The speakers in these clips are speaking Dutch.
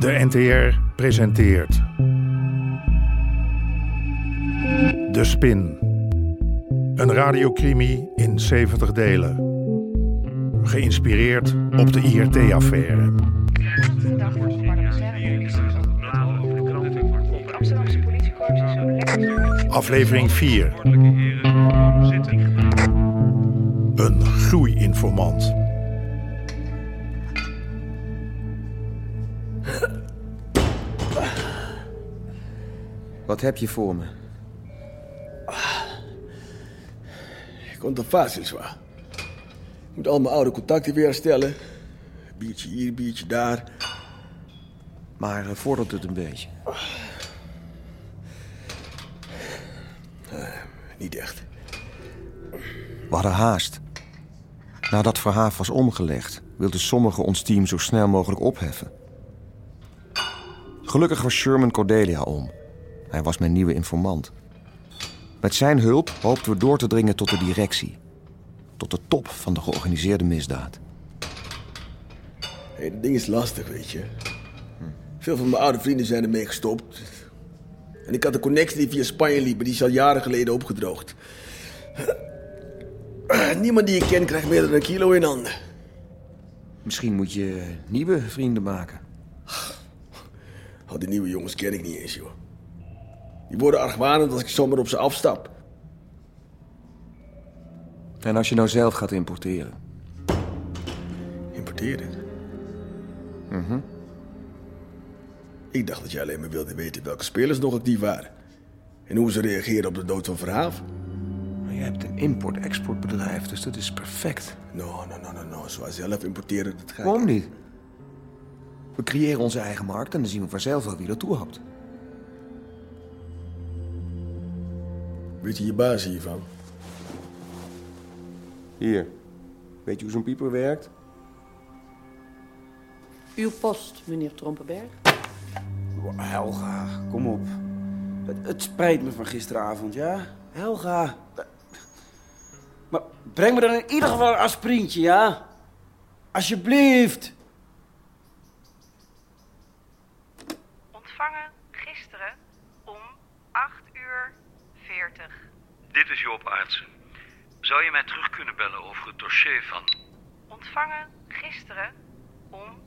De NTR presenteert. De Spin. Een radiocrimi in 70 delen. Geïnspireerd op de IRT-affaire. Aflevering 4. Een groeiinformant. Wat heb je voor me? Ah, Ik kon er fazend zwaar. Ik moet al mijn oude contacten weer herstellen. Biertje hier, biertje daar. Maar eh, vordert het een beetje? Niet echt. We hadden haast. Nadat Verhaaf was omgelegd, wilden sommigen ons team zo snel mogelijk opheffen. Gelukkig was Sherman Cordelia om. Hij was mijn nieuwe informant. Met zijn hulp hoopten we door te dringen tot de directie. Tot de top van de georganiseerde misdaad. Hey, dat ding is lastig, weet je. Veel van mijn oude vrienden zijn ermee gestopt. En ik had een connectie die via Spanje liep, maar die is al jaren geleden opgedroogd. Niemand die ik ken krijgt meer dan een kilo in handen. Misschien moet je eh, nieuwe vrienden maken. Al die nieuwe jongens ken ik niet eens, joh. Die worden argwanend als ik zomaar op ze afstap. En als je nou zelf gaat importeren? Importeren? Ik dacht dat jij alleen maar wilde weten welke spelers nog actief waren. En hoe ze reageerden op de dood van Verhaaf. Maar je hebt een import-exportbedrijf, dus dat is perfect. No, no, no, no, no. Zwaar zelf importeren, dat ga ik... Waarom niet? We creëren onze eigen markt en dan zien we vanzelf wel wie dat toe hapt. Weet je je baas hiervan? Hier. Weet je hoe zo'n pieper werkt? Uw post, meneer Trompenberg. Helga, kom op. Het, het spijt me van gisteravond, ja? Helga. Maar breng me dan in ieder geval een aspirintje, ja? Alsjeblieft. Ontvangen gisteren om 8 uur 40. Dit is Joop Aartsen. Zou je mij terug kunnen bellen over het dossier van... Ontvangen gisteren om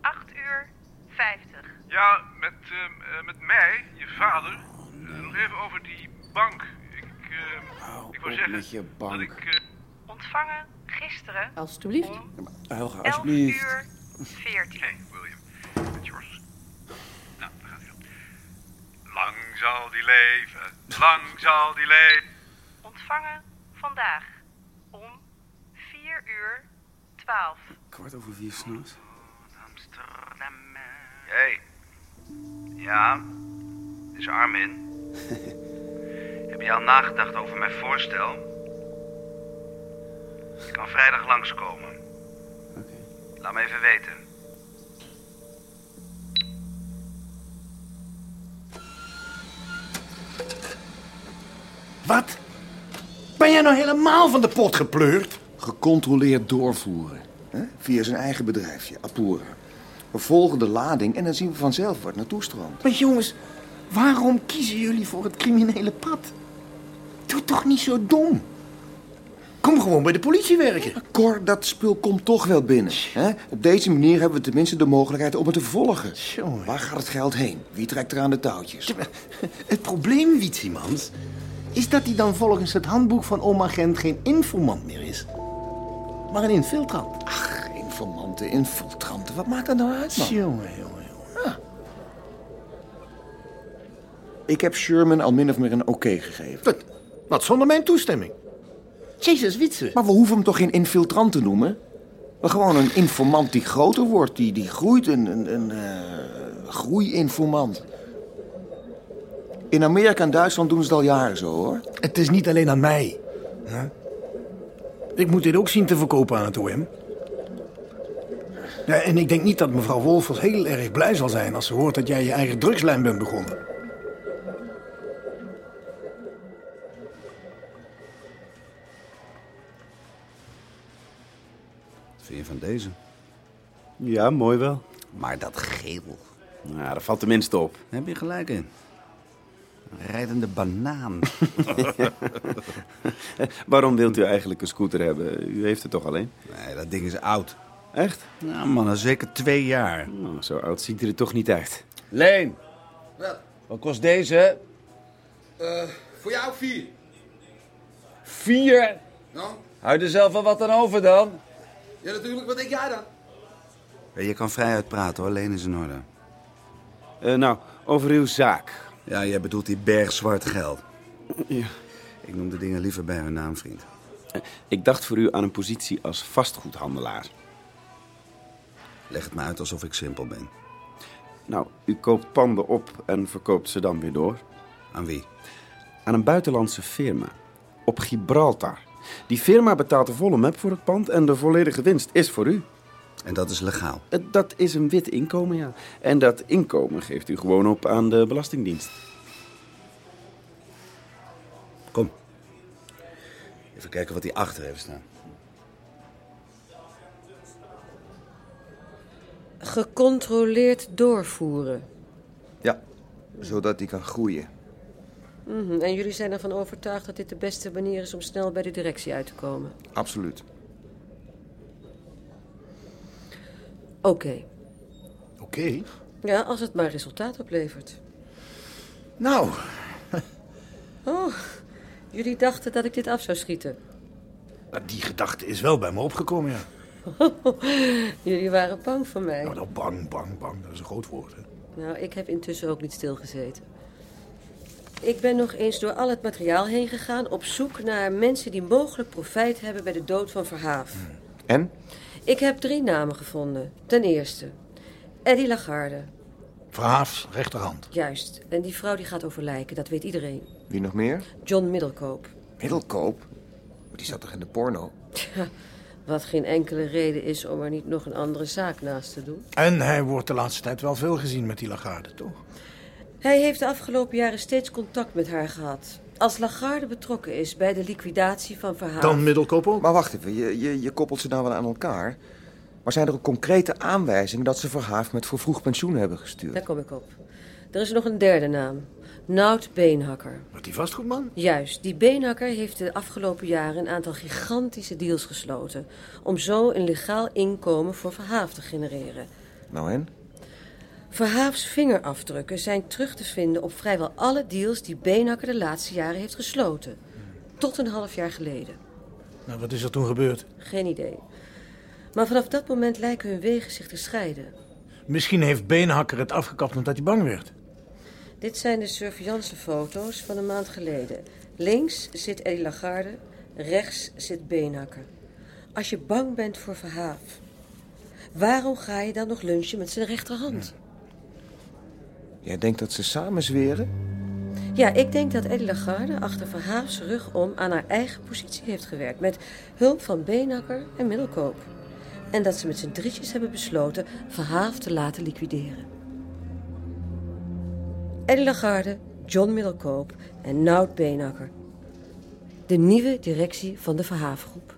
8 uur 50. Ja, met, ehm, eh, met mij, je vader. Eh, nog even over die bank. Ik, ehm, Hou ik wil op zeggen met je dat bank. ik... eh, Ontvangen gisteren Alsjeblieft. om Helga, 11 alsjeblieft. uur 14. Hey, William. Met George. Nou, daar gaat hij dan. Lang zal die leven. Lang zal die leven. Ontvangen vandaag om 4 uur 12. Kwart over vier s'nachts. Amsterdam. Hey. Ja? Is Armin? Heb je al nagedacht over mijn voorstel? Ik kan vrijdag langskomen. Laat me even weten. Wat? Ben jij nou helemaal van de pot gepleurd? Gecontroleerd doorvoeren. Hè? Via zijn eigen bedrijfje, Apura. We volgen de lading en dan zien we vanzelf waar het naartoe stroomt. Maar jongens, waarom kiezen jullie voor het criminele pad? Doe toch niet zo dom. Kom gewoon bij de politie werken. Cor, dat spul komt toch wel binnen. Hè? Op deze manier hebben we tenminste de mogelijkheid om het te volgen. Tjonge. Waar gaat het geld heen? Wie trekt er aan de touwtjes? Het probleem, Wietsimans, is dat hij dan volgens het handboek van omagent geen informant meer is. Maar een infiltrant. Ach, informanten, infiltranten. Wat maakt dat nou uit, man? Jongen, jongen, jongen. Ik heb Sherman al min of meer een oké gegeven. Wat? Wat zonder mijn toestemming? Jezus, Wietse. Maar we hoeven hem toch geen infiltrant te noemen? Maar gewoon een informant die groter wordt, die, die groeit. Een, een, een eh, groeiinformant. In Amerika en Duitsland doen ze het al jaren zo, hoor. Het is niet alleen aan mij. hè? Ik moet dit ook zien te verkopen aan het OM. Ja, en ik denk niet dat mevrouw Wolfers heel erg blij zal zijn als ze hoort dat jij je eigen drugslijn bent begonnen. Wat vind je van deze? Ja, mooi wel. Maar dat geel. Nou, dat valt tenminste op. Daar heb je gelijk in. Een rijdende banaan. Waarom wilt u eigenlijk een scooter hebben? U heeft er toch alleen? Nee, dat ding is oud. Echt? Nou man, dat is zeker twee jaar. Nou, zo oud ziet hij er toch niet uit. Leen, wat kost deze? Voor jou vier. Vier. Nou, Hou er zelf wel wat aan over dan. ja natuurlijk. Wat denk jij dan? Je kan vrijuit praten hoor, Leen is in orde. Eh, nou, over uw zaak. Ja, jij bedoelt die berg zwart geld. Ja. Ik noem de dingen liever bij hun naam, vriend. Ik dacht voor u aan een positie als vastgoedhandelaar. Leg het me uit alsof ik simpel ben. Nou, u koopt panden op en verkoopt ze dan weer door. Aan wie? Aan een buitenlandse firma. Op Gibraltar. Die firma betaalt de volle map voor het pand en de volledige winst is voor u. En dat is legaal. Eh, Dat is een wit inkomen, ja. En dat inkomen geeft u gewoon op aan de Belastingdienst. Kom. Even kijken wat die achter heeft staan. Gecontroleerd doorvoeren. Ja, zodat die kan groeien. Mhm, En jullie zijn ervan overtuigd dat dit de beste manier is om snel bij de directie uit te komen. Absoluut. Oké. Oké. Ja, als het maar resultaat oplevert. Nou, Oh, jullie dachten dat ik dit af zou schieten. Nou, Die gedachte is wel bij me opgekomen, ja. Jullie waren bang voor mij. Nou, nou, bang, bang, bang. Dat is een groot woord, hè. Nou, ik heb intussen ook niet stilgezeten. Ik ben nog eens door al het materiaal heen gegaan op zoek naar mensen die mogelijk profijt hebben bij de dood van Verhaaf. En? Ik heb drie namen gevonden. Ten eerste, Eddie Lagarde. Verhaafs, rechterhand. Juist, en die vrouw die gaat over lijken, dat weet iedereen. wie nog meer? John Middelkoop. Middelkoop? Maar Die zat toch in de porno? Wat geen enkele reden is om er niet nog een andere zaak naast te doen. En hij wordt de laatste tijd wel veel gezien met die lagarde, toch? Hij heeft de afgelopen jaren steeds contact met haar gehad. Als Lagarde betrokken is bij de liquidatie van Verhaaf... Dan middelkoop ook. Maar wacht even, je, je, je koppelt ze nou wel aan elkaar. Maar zijn er ook concrete aanwijzingen dat ze Verhaaf met voor vroeg pensioen hebben gestuurd? Daar kom ik op. Er is nog een derde naam. Nout Beenhakker. Wat die vastgoedman? Juist, die Beenhakker heeft de afgelopen jaren een aantal gigantische deals gesloten... om zo een legaal inkomen voor Verhaaf te genereren. Nou en? Verhaafs vingerafdrukken zijn terug te vinden op vrijwel alle deals... die Beenhakker de laatste jaren heeft gesloten. Tot een half jaar geleden. Nou, wat is er toen gebeurd? Geen idee. Maar vanaf dat moment lijken hun wegen zich te scheiden. Misschien heeft Beenhakker het afgekapt omdat hij bang werd. Dit zijn de surveillancefoto's van een maand geleden. Links zit Eddie Lagarde, rechts zit Beenhakker. Als je bang bent voor Verhaaf, waarom ga je dan nog lunchen met zijn rechterhand? Jij denkt dat ze samen zweren? Ja, ik denk dat Eddie Lagarde achter Verhaafs rug om aan haar eigen positie heeft gewerkt... met hulp van Beenhakker en Middelkoop. En dat ze met z'n drietjes hebben besloten Verhaaf te laten liquideren. Eddie Lagarde, John Middelkoop en Nout Beenhakker. De nieuwe directie van de Verhaafgroep.